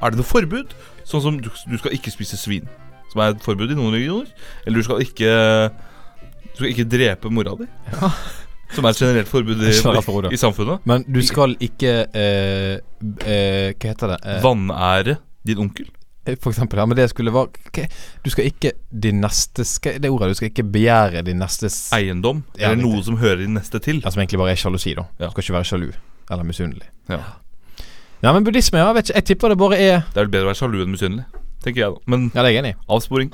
Speaker 3: Er det noe forbud? Sånn som du, du skal ikke spise svin, som er et forbud i noen regioner. Eller du skal ikke Du skal ikke drepe mora di. Som er et generelt forbud i,
Speaker 2: Jeg skjønner alt for ordet.
Speaker 3: i samfunnet.
Speaker 2: Men du skal ikke eh, eh, Hva heter det? Eh,
Speaker 3: Vanære din onkel.
Speaker 2: For eksempel, ja, men det skulle være ok, Du skal ikke din neste skal, Det ordet, du skal ikke begjære din nestes
Speaker 3: eiendom
Speaker 2: Ja,
Speaker 3: eller
Speaker 2: riktig.
Speaker 3: noe som hører i neste til.
Speaker 2: Ja, som egentlig bare er sjalusi, da.
Speaker 3: Ja.
Speaker 2: Du skal ikke være sjalu eller misunnelig.
Speaker 3: Ja.
Speaker 2: Ja, men buddhisme, ja, jeg vet ikke, jeg tipper det bare er
Speaker 3: Det er vel bedre å være sjalu enn misunnelig, tenker jeg da. Men
Speaker 2: Ja, det er jeg enig i.
Speaker 3: avsporing.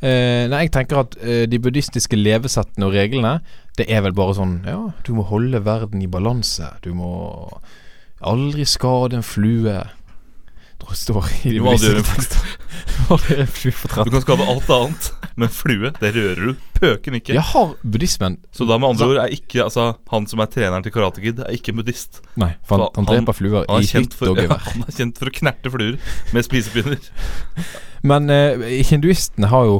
Speaker 2: Eh, nei, jeg tenker at eh, de buddhistiske levesettene og reglene, det er vel bare sånn Ja, du må holde verden i balanse. Du må aldri skade en flue. Tror jeg står i de
Speaker 3: Du må aldri gjøre en
Speaker 2: buddhistiske tekstene. Du må aldri gjøre en flue for
Speaker 3: Du
Speaker 2: 30.
Speaker 3: kan skade alt annet, men flue, det rører du pøken ikke.
Speaker 2: Ja, har buddhismen
Speaker 3: Så da med andre ord er ikke altså, han som er treneren til Karate Kid, er ikke buddhist.
Speaker 2: Nei, for han, han
Speaker 3: Så han-
Speaker 2: dreper fluer
Speaker 3: Han
Speaker 2: i
Speaker 3: er, kjent
Speaker 2: hytt
Speaker 3: for,
Speaker 2: og
Speaker 3: ja,
Speaker 2: gevær.
Speaker 3: han er kjent for å knerte fluer med spisepinner.
Speaker 2: Men eh, hinduistene har jo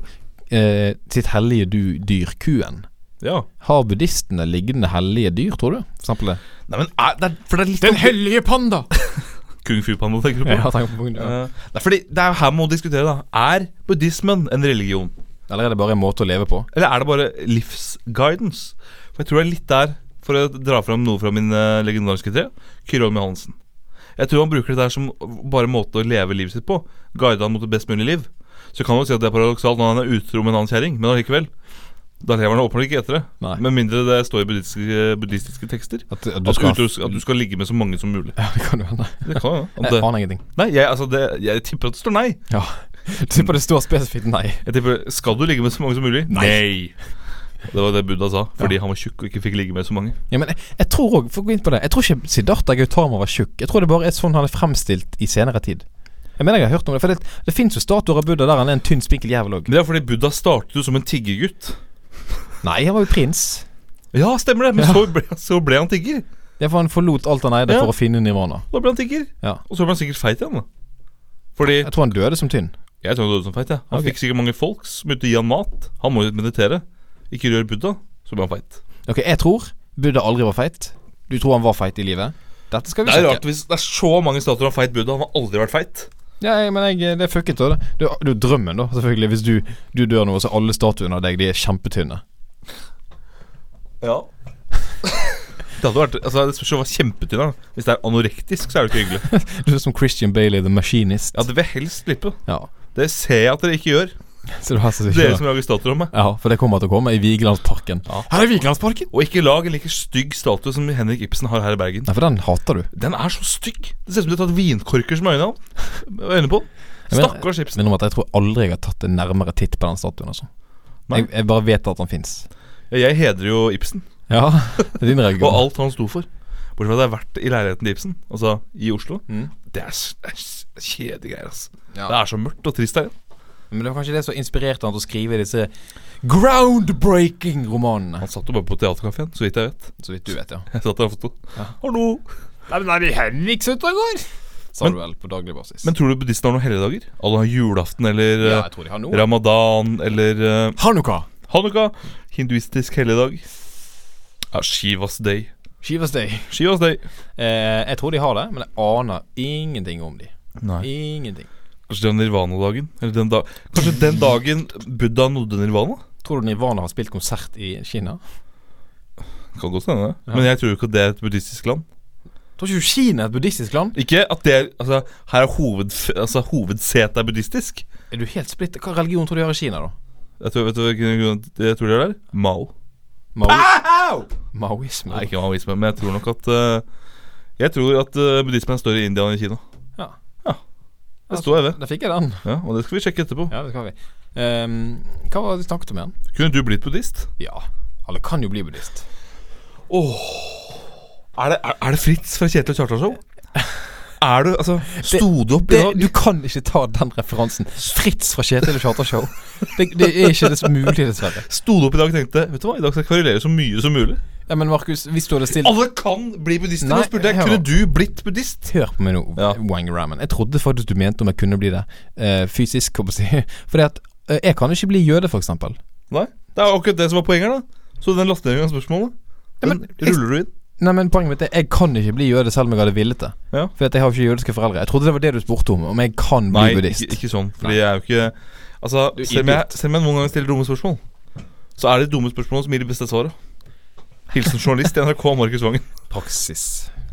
Speaker 2: eh, sitt hellige du, dyr, kuen.
Speaker 3: Ja.
Speaker 2: Har buddhistene liggende hellige dyr, tror du? For eksempel det.
Speaker 3: Nei, men er, det er, for det er litt om-
Speaker 2: hellige panda!
Speaker 3: Kung Fu Panda, tenker du på?
Speaker 2: Ja, tenk på punkt, ja.
Speaker 3: Eh, det er fordi, det er jo her man må diskutere, da. Er buddhismen en religion?
Speaker 2: Eller er det bare en måte å leve på?
Speaker 3: Eller er det bare livsguidance? For jeg tror det er litt der, for å dra fram noe fra min eh, legendariske tre, Kyrholm Johansen. Jeg tror han bruker det der som bare måte å leve livet sitt på. Guide han mot det best mulige liv. Så kan man jo si at det er paradoksalt når han er utro med en annen kjerring, men allikevel. Da lever han åpenbart ikke etter det.
Speaker 2: Nei.
Speaker 3: Med mindre det står i buddhistiske, buddhistiske tekster.
Speaker 2: At, at
Speaker 3: At, utro, at du skal ligge med så mange som mulig.
Speaker 2: Ja, det kan jo hende.
Speaker 3: Det kan jo at
Speaker 2: Jeg
Speaker 3: det-
Speaker 2: aner ingenting.
Speaker 3: Nei, jeg, altså det, jeg tipper at det står nei.
Speaker 2: Ja. Du tipper det står spesifikt nei.
Speaker 3: Jeg tipper, Skal du ligge med så mange som mulig? Nei! Det var det Buddha sa, fordi han var tjukk og ikke fikk ligge med så mange.
Speaker 2: Ja, men jeg, jeg tror òg For å gå inn på det Jeg tror ikke Siddhartha Gautama var tjukk. Jeg tror det bare er sånn han er fremstilt i senere tid. Jeg mener jeg har hørt om det. For det, det fins jo statuer av Buddha der han er en tynn, spinkel jævel òg.
Speaker 3: Men det er fordi Buddha startet jo som en tiggergutt.
Speaker 2: Nei, han var jo prins.
Speaker 3: Ja, stemmer det, men så, ble, så ble han tigger.
Speaker 2: Ja, for han forlot alt han eide
Speaker 3: Ja.
Speaker 2: for å finne nirvana.
Speaker 3: Da ble han tigger.
Speaker 2: Ja.
Speaker 3: Og så ble han sikkert feit igjen, da. Fordi
Speaker 2: Jeg tror han døde som tynn.
Speaker 3: Jeg tror han døde som feit, jeg. Han
Speaker 2: Ok.
Speaker 3: fikk sikkert mange folk som begynte å gi han mat. Han må jo meditere. Ikke rør Buddha, så ble han feit.
Speaker 2: Ok, jeg tror Buddha aldri var feit. Du tror han var feit i livet? Dette skal vi
Speaker 3: Det er
Speaker 2: sjekke.
Speaker 3: rart hvis det er så mange statuer av feit Buddha. Han har aldri vært feit.
Speaker 2: Ja, jeg, men jeg, det er fucket, da. Det Det er jo drømmen, da, selvfølgelig. Hvis du, du dør nå, så er alle statuene av deg de er kjempetynne.
Speaker 3: Ja Det hadde vært Altså, det spørs jo hva kjempetynn er. da. Hvis det er anorektisk, så er det ikke hyggelig.
Speaker 2: Du er som Christian Bailey, the machinist.
Speaker 3: Ja, det vil jeg helst slippe.
Speaker 2: Ja.
Speaker 3: Det ser jeg at dere ikke gjør,
Speaker 2: Så du har så
Speaker 3: dere som lager statuer om meg.
Speaker 2: Ja, for det kommer til å komme i Vigelandsparken. Her er Vigelandsparken!
Speaker 3: Og ikke lag en like stygg statue som Henrik Ibsen har her i Bergen.
Speaker 2: Nei, for den hater du.
Speaker 3: Den er så stygg! Det ser ut som de har tatt vinkorker som øyne, av- øyne på den.
Speaker 2: Jeg mener-
Speaker 3: Stakkars Ibsen.
Speaker 2: Minner om at jeg tror aldri jeg har tatt en nærmere titt på den statuen, altså.
Speaker 3: Nei.
Speaker 2: Jeg, jeg bare vet at han fins.
Speaker 3: Jeg hedrer jo Ibsen,
Speaker 2: Ja, det er din
Speaker 3: og
Speaker 2: reaksjon.
Speaker 3: alt han sto for. Bortsett fra at jeg har vært i leiligheten til Ibsen, altså i Oslo. Det er, s- det er s- kjedelige greier, ass.
Speaker 2: Mm. Ja.
Speaker 3: Det er så mørkt og trist her.
Speaker 2: Men det var kanskje det som inspirerte han til å skrive disse groundbreaking-romanene.
Speaker 3: Han satt jo bare på teaterkafeen, så vidt jeg vet.
Speaker 2: Så vidt du vet, ja.
Speaker 3: Jeg satt der og foto. Hallo!
Speaker 2: Nei, men er det Henrik som går? Sa
Speaker 3: Men-
Speaker 2: du vel på daglig basis.
Speaker 3: Men tror du buddhistene har noen helligdager? Alle har julaften eller
Speaker 2: ja,
Speaker 3: eh,
Speaker 2: jeg tror de har noe.
Speaker 3: ramadan eller eh,
Speaker 2: Hanukka.
Speaker 3: Hanukka, hinduistisk helligdag. Ja, Shivas day.
Speaker 2: Shivas Day.
Speaker 3: Shivas day.
Speaker 2: Eh, jeg tror de har det, men jeg aner ingenting om de.
Speaker 3: Nei.
Speaker 2: Ingenting.
Speaker 3: Kanskje det var nirvana-dagen? Eller den da Kanskje den dagen Buddha nådde nirvana?
Speaker 2: Tror du Nirvana har spilt konsert i Kina?
Speaker 3: Kan godt hende. Men jeg tror ikke at det er et buddhistisk land.
Speaker 2: Tror ikke du Kina er et buddhistisk land?
Speaker 3: Ikke at det er Altså, her er hoved, altså, hovedsetet er buddhistisk.
Speaker 2: Er du helt splitt? Hva religion tror du de har i Kina, da?
Speaker 3: Jeg tror, vet du hvilken grunn jeg tror det er der? Mao.
Speaker 2: Mao Maoisme.
Speaker 3: Nei, ikke maoisme, men jeg tror nok at eh, Jeg tror at eh, buddhismen er større i India enn i Kina.
Speaker 2: Ja.
Speaker 3: Ja. Det står her, det.
Speaker 2: Da fikk jeg den.
Speaker 3: Ja, og det skal vi sjekke etterpå.
Speaker 2: Ja, det skal vi. Ehm, hva var det vi snakket om igjen?
Speaker 3: Kunne du blitt buddhist?
Speaker 2: Ja, alle kan jo bli buddhist.
Speaker 3: Er det, er, er det Fritz fra Kjetil og Kjartan-show? Er du Altså, sto du opp i
Speaker 2: Det,
Speaker 3: dag?
Speaker 2: du kan ikke ta den referansen. Fritz fra Kjetil og Charter Show. Det, det er ikke dess mulig, dessverre.
Speaker 3: Sto du opp i dag og tenkte Vet du hva, i dag skal jeg kverulere så mye som mulig?
Speaker 2: Ja, men Markus, hvis du hadde stilt
Speaker 3: Alle kan bli buddhister.
Speaker 2: Nei,
Speaker 3: Nå spurte jeg
Speaker 2: hør
Speaker 3: kunne
Speaker 2: nå.
Speaker 3: du blitt buddhist.
Speaker 2: Hør på meg nå,
Speaker 3: Ja.
Speaker 2: Wangrammen. Jeg trodde faktisk du mente om jeg kunne bli det. eh, fysisk, kan man si. Fordi at eh, jeg kan ikke bli jøde, for eksempel.
Speaker 3: Nei, Det er akkurat det som var poenget her, da. Så den latterliggjøringen av spørsmålet, den
Speaker 2: men jeg-
Speaker 3: ruller du inn.
Speaker 2: Nei, men Poenget mitt er jeg kan ikke bli jøde selv om jeg hadde villet det.
Speaker 3: Ja.
Speaker 2: Fordi at jeg har ikke jødiske foreldre. Jeg trodde det var det du spurte om. Om jeg kan bli
Speaker 3: Nei,
Speaker 2: buddhist.
Speaker 3: ikke, ikke sånn. Fordi jeg er jo ikke Altså,
Speaker 2: Du er
Speaker 3: selv om, jeg, selv om jeg noen ganger stiller dumme spørsmål, så er det dumme spørsmål som gir det beste svaret. Hilsen journalist i NRK, Markus Vangen.
Speaker 2: Praksis.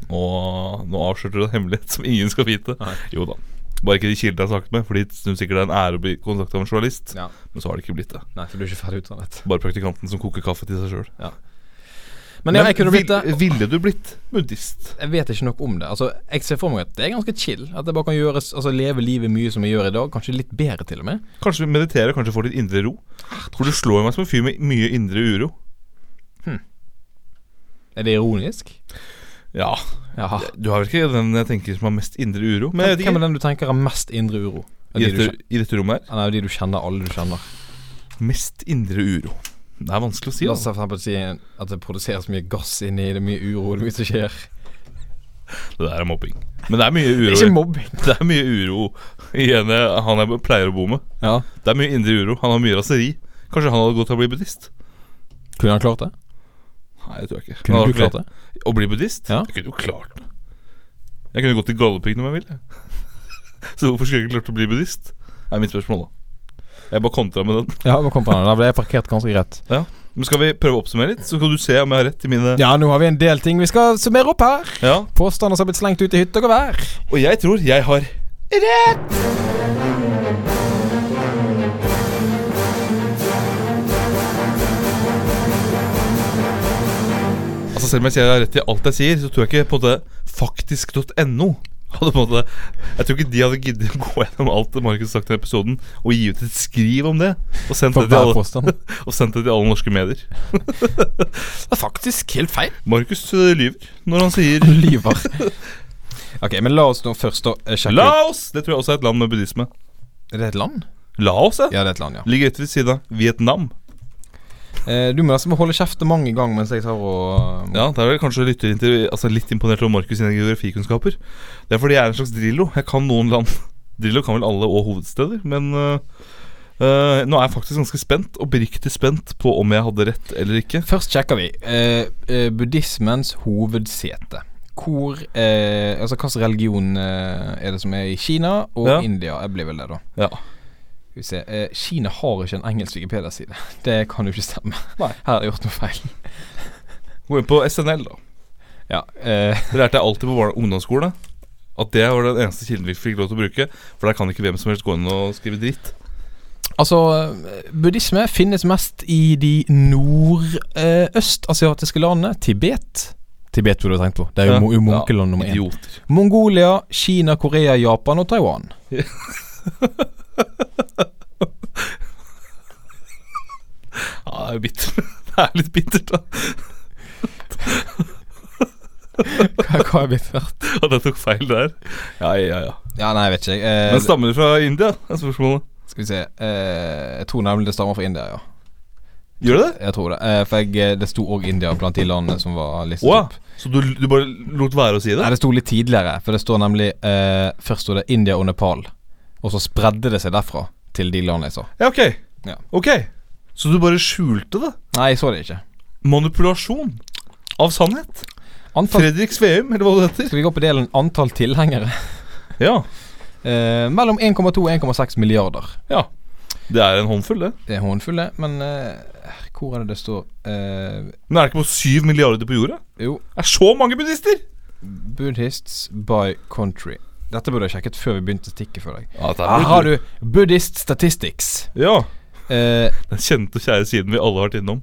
Speaker 3: Og nå avslørte du en hemmelighet som ingen skal vite. Jo da. Bare ikke de kildene jeg har snakket med, fordi de synes sikkert det er en ære å bli kontakta av en journalist.
Speaker 2: Ja.
Speaker 3: Men så har det ikke blitt det.
Speaker 2: Nei, for du er ikke ferdig utdannet.
Speaker 3: Bare praktikanten som koker kaffe til seg sjøl.
Speaker 2: Men ja, jeg kunne blitt det.
Speaker 3: Ville du blitt buddhist?
Speaker 2: Jeg vet ikke nok om det. Altså, Jeg ser for meg at det er ganske chill. At jeg bare kan gjøre, altså, leve livet mye som jeg gjør i dag. Kanskje litt bedre, til og med.
Speaker 3: Kanskje vi mediterer, kanskje får litt indre ro? For du slår meg som en fyr med mye indre uro.
Speaker 2: Er det ironisk?
Speaker 3: Ja,
Speaker 2: Jaha.
Speaker 3: du har vel ikke den jeg tenker som har mest indre uro? Men jeg vet
Speaker 2: Hvem
Speaker 3: ikke.
Speaker 2: er den du tenker har mest indre uro? Av
Speaker 3: I
Speaker 2: de du,
Speaker 3: dette,
Speaker 2: kjen-
Speaker 3: I dette rommet her
Speaker 2: Nei, av de du kjenner, alle du kjenner.
Speaker 3: mest indre uro. Det er vanskelig å si.
Speaker 2: La oss
Speaker 3: Altså.
Speaker 2: for eksempel si at det produseres mye gass inni, det er mye uro, det er mye som skjer.
Speaker 3: Det der er mobbing. Men det er mye
Speaker 2: Det
Speaker 3: uro.
Speaker 2: er ikke mobbing.
Speaker 3: Det er mye uro i en eh, han jeg pleier å bo med.
Speaker 2: Ja.
Speaker 3: Det er mye indre uro. Han har mye raseri. Kanskje han hadde gått til å bli buddhist?
Speaker 2: Kunne han klart det?
Speaker 3: Nei, det tror jeg ikke.
Speaker 2: Kunne
Speaker 3: Han
Speaker 2: du
Speaker 3: hadde
Speaker 2: klart det?
Speaker 3: Å bli buddhist?
Speaker 2: Ja.
Speaker 3: Jeg kunne jo klart det. Jeg kunne gått til Galdhøpiggen om jeg ville. Så hvorfor skulle jeg ikke klart å bli buddhist? Det er mitt spørsmål, da. Jeg bare kontra med den.
Speaker 2: Ja, nå kom på den. Da ble jeg parkert ganske greit.
Speaker 3: Men skal vi prøve å oppsummere litt, så skal du se om jeg har rett i mine
Speaker 2: Ja, nå har vi en del ting vi skal summere opp her.
Speaker 3: Ja.
Speaker 2: Påstander som har blitt slengt ut i hytte og gevær.
Speaker 3: Og jeg tror jeg har Altså Selv om jeg sier jeg har rett i alt jeg sier, så tror jeg ikke på det faktisk.no. Hadde på en måte Jeg tror ikke de hadde giddet å gå gjennom alt det Markus har sagt i denne episoden, og gi ut et skriv om det. Og sendt
Speaker 2: For
Speaker 3: det til
Speaker 2: hver
Speaker 3: alle,
Speaker 2: påstand.
Speaker 3: og sendt det til alle norske medier.
Speaker 2: Det er faktisk helt feil.
Speaker 3: Markus øh, lyver når han sier
Speaker 2: Lyver. Ok, men la oss nå først da eh, sjekke ut
Speaker 3: Laos! Det tror jeg også er et land med buddhisme.
Speaker 2: Er det et land?
Speaker 3: Laos, ja.
Speaker 2: Ja, det er et land, ja.
Speaker 3: Ligger rett ved siden av Vietnam.
Speaker 2: Eh, du må nesten holde kjeft og mange ganger mens jeg tar og eh,
Speaker 3: Ja, det er vel kanskje lytter inn til, altså litt imponert over Markus' sine geografikunnskaper. Det er fordi jeg er en slags Drillo. Jeg kan noen land. Drillo kan vel alle og hovedsteder, men øh, øh, nå er jeg faktisk ganske spent, oppriktig spent, på om jeg hadde rett eller ikke.
Speaker 2: Først sjekker vi eh, eh, buddhismens hovedsete. Hvor eh, Altså hvilken religion eh, er det som er i Kina og
Speaker 3: Ja.
Speaker 2: India? Jeg blir vel det, da.
Speaker 3: Ja.
Speaker 2: Skal vi se eh, Kina har ikke en engelsk Wikipedia-side. Det kan jo ikke stemme.
Speaker 3: Nei.
Speaker 2: Her er det gjort noe feil.
Speaker 3: Gå inn på SNL, da.
Speaker 2: Ja, eh,
Speaker 3: Det lærte jeg alltid på barne- ungdomsskolen. At det var den eneste kilden vi fikk lov til å bruke. For der kan ikke hvem som helst gå inn og skrive dritt.
Speaker 2: altså, eh, buddhisme finnes mest i de nordøstasiatiske landene. Tibet. Tibet burde du ha tenkt på. Det er jo, mo- jo munkeland nummer én.
Speaker 3: Idioter.
Speaker 2: Mongolia, Kina, Korea, Japan og Taiwan.
Speaker 3: Ja, det er jo bittert. det er litt bittert, da.
Speaker 2: Hva hva har blitt vært?
Speaker 3: At jeg tok feil der. Ja, ja, ja.
Speaker 2: Ja, nei, jeg vet ikke. jeg. Eh,
Speaker 3: Men stammer det fra India? er spørsmålet.
Speaker 2: Skal vi se eh, Jeg tror nemlig det stammer fra India, ja.
Speaker 3: Gjør det det?
Speaker 2: Jeg tror det. Eh, for jeg, eh, det sto òg India blant de landene som var listet
Speaker 3: Å ja.
Speaker 2: opp.
Speaker 3: Så du, du bare lot være å si det?
Speaker 2: Nei, det sto litt tidligere, for det står nemlig eh, Først sto det India og Nepal, og så spredde det seg derfra til de landene jeg så.
Speaker 3: Ja, ok.
Speaker 2: Ja.
Speaker 3: Ok Så du bare skjulte det?
Speaker 2: Nei, jeg så det ikke.
Speaker 3: Manipulasjon av sannhet?
Speaker 2: Antall,
Speaker 3: Fredrik Sveum, eller hva det heter?
Speaker 2: skal vi gå på delen antall tilhengere?
Speaker 3: Ja.
Speaker 2: Eh, mellom 1,2 og 1,6 milliarder.
Speaker 3: ja Det er en håndfull, det.
Speaker 2: Det er håndfulle, men eh, hvor er det det står eh,
Speaker 3: Men er det ikke på syv milliarder på jorda?
Speaker 2: Jo,
Speaker 3: Det er så mange buddhister!
Speaker 2: Buddhists by country. Dette burde jeg sjekket før vi begynte stikket for deg.
Speaker 3: Ja,
Speaker 2: Her Ah, har du Buddhist Statistics.
Speaker 3: Ja,
Speaker 2: Eh,
Speaker 3: Den kjente og kjære siden vi alle har vært innom.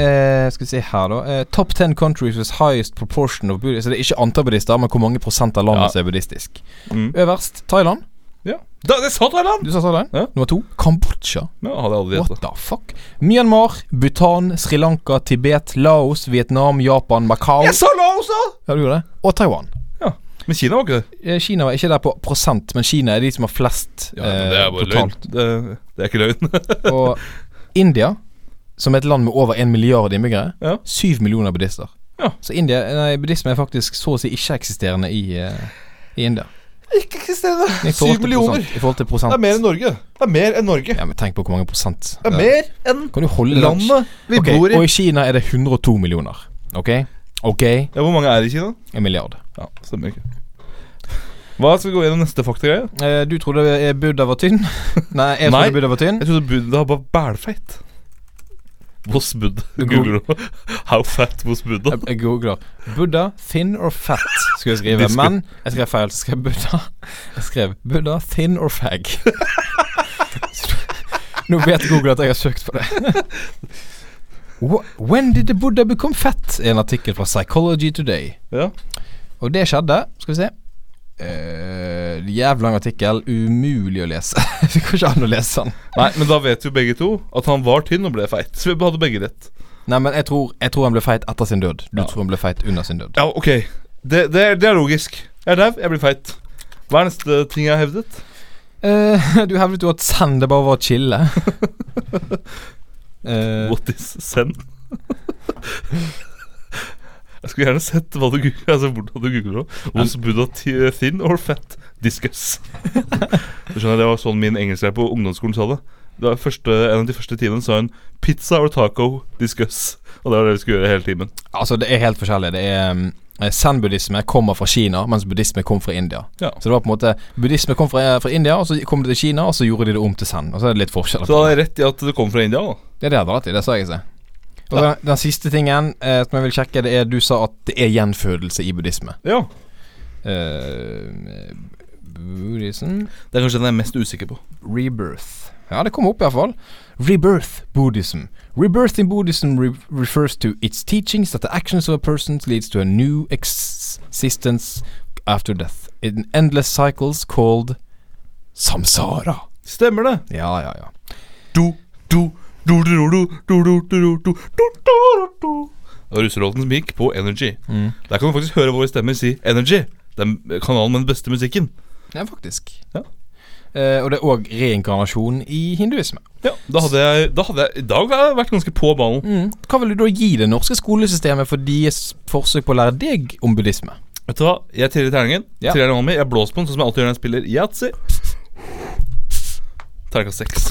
Speaker 2: eh, skal vi se her, da. Eh, top 10 countries with highest proportion of buddhists. Så det er ikke antall buddhister, men hvor mange prosent av landet
Speaker 3: Ja.
Speaker 2: som er buddhistisk.
Speaker 3: Mm.
Speaker 2: Øverst Thailand.
Speaker 3: Ja. Da, det sa Thailand!
Speaker 2: Du sa Thailand?
Speaker 3: Ja.
Speaker 2: Nummer to Kambodsja.
Speaker 3: Ja, hadde jeg aldri
Speaker 2: What
Speaker 3: gjettet.
Speaker 2: the fuck? Myanmar, Bhutan, Sri Lanka, Tibet, Laos, Vietnam, Japan, Macau
Speaker 3: Jeg sa Laos, da!
Speaker 2: Ja, du gjorde det? Og Taiwan.
Speaker 3: Ja. Men Kina var ikke det.
Speaker 2: Eh, Kina var ikke der på prosent, men Kina er de som har flest
Speaker 3: Ja, men det er
Speaker 2: eh,
Speaker 3: bare
Speaker 2: totalt.
Speaker 3: løgn. Det, det er ikke løgn.
Speaker 2: Og India, som er et land med over en milliard innbyggere,
Speaker 3: Ja.
Speaker 2: syv millioner buddhister.
Speaker 3: Ja.
Speaker 2: Så India, nei, buddhisme er faktisk så å si ikke-eksisterende i, eh, i India.
Speaker 3: ikke eksisterende.
Speaker 2: I forhold til prosent- I forhold til prosent.
Speaker 3: Norge. Det er mer enn Norge.
Speaker 2: Ja, men tenk på hvor mange prosent.
Speaker 3: Det er mer enn
Speaker 2: Kan du holde
Speaker 3: landet vi
Speaker 2: Ok,
Speaker 3: bor i.
Speaker 2: Og i Kina er det 102 millioner. Ok? Ok,
Speaker 3: Ja, Hvor mange er det i Kina?
Speaker 2: en milliard.
Speaker 3: Ja, Stemmer ikke. Hva Skal vi gå gjennom neste faktagreie?
Speaker 2: Eh, du trodde eh, Buddha var tynn? Nei, jeg
Speaker 3: Nei.
Speaker 2: trodde Buddha var tynn.
Speaker 3: Jeg trodde Buddha var bælfeit. Hos Buddha. Google nå. How fat was Buddha?
Speaker 2: Jeg, jeg googler Buddha, thin or fat, skulle jeg skrive.
Speaker 3: Disku-
Speaker 2: Men jeg skrev feil. Så skrev jeg Buddha Jeg skrev Buddha, thin or fag. Så Nå vet Google at jeg har søkt på det. Wh- When did the Buddha become fat? er en artikkel fra Psychology Today.
Speaker 3: Ja.
Speaker 2: Og det skjedde. Skal vi se. Uh, jævlig lang artikkel. Umulig å lese. Det går ikke an å lese den.
Speaker 3: Nei, men da vet jo begge to at han var tynn og ble feit. Så vi hadde begge rett.
Speaker 2: Nei, men jeg tror, jeg tror han ble feit etter sin død. Du
Speaker 3: Ja.
Speaker 2: tror han ble feit under sin død.
Speaker 3: Ja, ok. Det, det, er, det er logisk. Jeg er dau, jeg blir feit. Hva er neste ting jeg har hevdet?
Speaker 2: Eh, du hevdet jo at send det bare var chille. Eh,
Speaker 3: What is send? jeg skulle gjerne sett hva du googler, altså, hvordan du googler nå. Was Buddha thi- thin or fat? Discuss. du skjønner, Det var sånn min engelsklærer på ungdomsskolen sa det. det var første, en av de første timene sa hun 'pizza or taco discuss'. Og det var det vi skulle gjøre hele timen.
Speaker 2: altså, det er helt forskjellig. Det er um, Zen-buddhisme kommer fra Kina, mens buddhisme kom fra India.
Speaker 3: Ja.
Speaker 2: Så det var på en måte Buddhisme kom fra, fra India, og så kom det til Kina, og så gjorde de det om til zen. Og så er det litt forskjell.
Speaker 3: Så da hadde jeg rett i at det kom fra India. da
Speaker 2: Det er det jeg hadde rett i, det sa jeg ikke. Og så den siste tingen eh, som jeg vil sjekke, det er du sa at det er gjenfødelse i buddhisme.
Speaker 3: Ja
Speaker 2: Eh, buddhism
Speaker 3: Det er kanskje den jeg er mest usikker på.
Speaker 2: Rebirth. Ja, det kom opp i hvert fall. Rebirth Buddhism. Rebirth in Buddhism re refers to its teachings that the actions of a person leads to a new existence after death. In endless cycles called samsara.
Speaker 3: Stemmer det.
Speaker 2: Ja, ja, ja.
Speaker 3: du, du, du, du, du, du, du, du, du, du, du, du, du, du. Det var russelåten som gikk på Energy. Der kan du faktisk høre våre stemmer si Energy. Den kanalen med den beste musikken.
Speaker 2: Ja, faktisk.
Speaker 3: Ja.
Speaker 2: Eh, og det er òg reinkarnasjon i hinduisme.
Speaker 3: Ja, Da hadde jeg, da hadde jeg I dag har jeg vært ganske på ballen.
Speaker 2: Hva vil du da gi det norske skolesystemet for deres forsøk på å lære deg om buddhisme?
Speaker 3: Vet du hva? Jeg triller terningen.
Speaker 2: Ja.
Speaker 3: Triller den hånden min. Jeg blåser på den sånn som jeg alltid gjør når jeg spiller yatzy. Terningkast seks.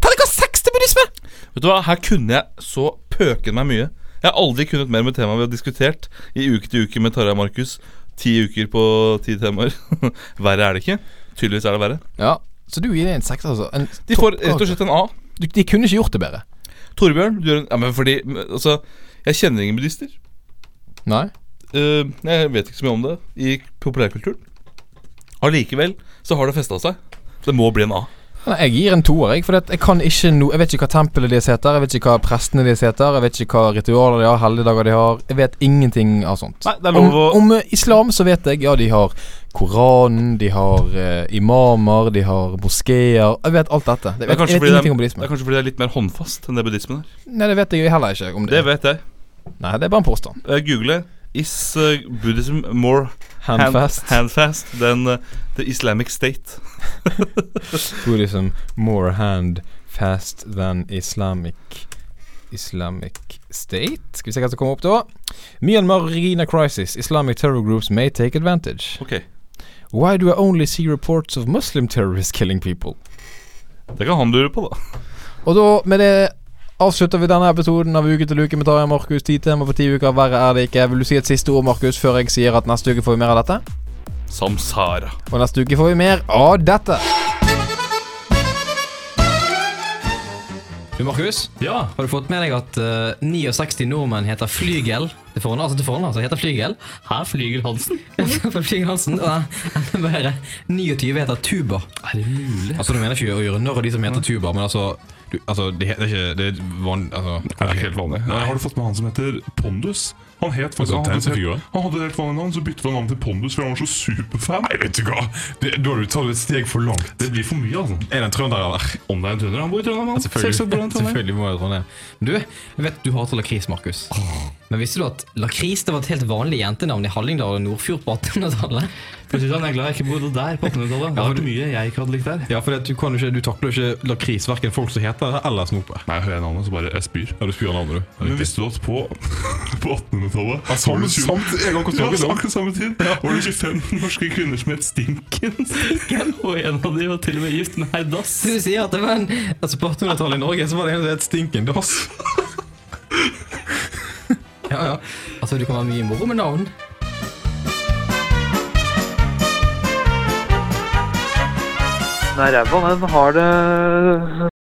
Speaker 2: Terningkast seks til buddhisme!
Speaker 3: Vet du hva? Her kunne jeg så pøken meg mye. Jeg har aldri kunnet mer med temaet vi har diskutert i uke til uke med Tarjei og Markus. Ti uker på ti temaer. verre er det ikke. Tydeligvis er det verre.
Speaker 2: Ja, så du gir det en seks, altså. En
Speaker 3: De får rett og slett en A.
Speaker 2: Du, de kunne ikke gjort det bedre.
Speaker 3: Torbjørn, du gjør en Ja, men fordi Altså, jeg kjenner ingen buddhister.
Speaker 2: Nei.
Speaker 3: Eh, jeg vet ikke så mye om det i populærkulturen. Allikevel så har det festa seg. Det må bli en A.
Speaker 2: Nei, Jeg gir en toer, jeg. For det at jeg kan ikke no Jeg vet ikke hva tempelet deres heter, jeg vet ikke hva prestene deres heter, jeg vet ikke hva ritualer de har, helligdager de har. Jeg vet ingenting av sånt.
Speaker 3: Nei, det er lov
Speaker 2: om,
Speaker 3: å-
Speaker 2: om eh, islam så vet jeg, ja, de har Koranen, de har eh, imamer, de har moskeer Jeg vet alt dette. Jeg
Speaker 3: Det er
Speaker 2: vet,
Speaker 3: kanskje
Speaker 2: jeg
Speaker 3: fordi
Speaker 2: vet
Speaker 3: det er,
Speaker 2: ingenting om
Speaker 3: det
Speaker 2: buddhisme.
Speaker 3: er kanskje fordi det er litt mer håndfast enn det buddhismen er.
Speaker 2: Nei, det vet jeg jo heller ikke om det.
Speaker 3: Det vet jeg.
Speaker 2: Nei, det er bare en påstand.
Speaker 3: Eh, Google Is eh, Buddhism more hand-
Speaker 2: Handfast.
Speaker 3: handfast than eh, the Islamic State?
Speaker 2: Buddhism liksom more hand fast than Islamic Islamic State. Skal vi se hva som kommer opp da. Myanmar Regina crisis. Islamic terror groups may take advantage.
Speaker 3: Ok,
Speaker 2: Why do I only see reports of Muslim terrorists killing people?
Speaker 3: Det kan han lure på, da.
Speaker 2: Og da med det avslutter vi denne episoden av Uke til uke med Tarjei og Markus. Ti temaer på ti uker, verre er det ikke. Vil du si et siste ord, Markus, før jeg sier at neste uke får vi mer av dette?
Speaker 3: Samsara.
Speaker 2: Og neste uke får vi mer av dette.
Speaker 6: Du, Markus,
Speaker 4: Ja,
Speaker 6: har du fått med deg at eh, 69 nordmenn heter Flygel? Til fornavn, altså til fornavn, altså heter Flygel.
Speaker 4: her flyger Hansen.
Speaker 6: For Flygel Hansen, og enda bedre, 29 heter Tuba.
Speaker 4: Er det mulig?
Speaker 6: Altså, du mener ikke å gjøre narr av de som heter Tuba, men altså
Speaker 3: du, altså, det, det er ikke Det er vanlig altså,
Speaker 4: Det er ikke helt vanlig.
Speaker 3: Nei.
Speaker 4: Har du fått med han som heter Pondus? Han het faktisk
Speaker 3: Altså,
Speaker 4: han hadde, et
Speaker 3: tegneseriefigur,
Speaker 4: helt, han hadde et helt vanlig navn, så byttet han navn til Pondus fordi han var så superfan.
Speaker 3: Nei, vet du hva! Det, da har du tatt et steg for langt.
Speaker 4: Det blir for mye, altså.
Speaker 3: Er det en trønder der?
Speaker 7: Om det er en trønder, han bor i Trondheim. han. Selvsagt bor han i Trondheim.
Speaker 3: Selvfølgelig må jeg tro det.
Speaker 2: Du, jeg vet du hater lakris, Markus. Men visste du at lakris det var et helt vanlig jentenavn i Hallingdal og Nordfjord på 1800-tallet?
Speaker 7: Jeg synes han er glad jeg ikke bodde der på 1800-tallet. Det har vært mye jeg ikke hadde likt der.
Speaker 3: Ja, for det, at du, kan jo ikke, du takler jo ikke lakris, hverken folk som heter det, eller snopet.
Speaker 4: Nei, hører jeg navnet, så bare jeg spyr.
Speaker 3: Ja, du eh, spyr navnet, du.
Speaker 4: Men visste du at på, på 1800-tallet
Speaker 3: Altså,
Speaker 4: var det
Speaker 3: samt- samt
Speaker 4: 20
Speaker 3: en gang hvor
Speaker 4: Ja,
Speaker 3: snakker om.
Speaker 4: akkurat samme tid var det 25 norske kvinner som het Stinken.
Speaker 7: Og en av de var til og med gift med Heidas.
Speaker 2: Så du sier at det var en altså på 1800-tallet
Speaker 3: I Norge så var det en som het Stinken Dass.
Speaker 2: Ja, ja. Altså, du kan være mye moro med navn.
Speaker 1: Nei, ræva den har det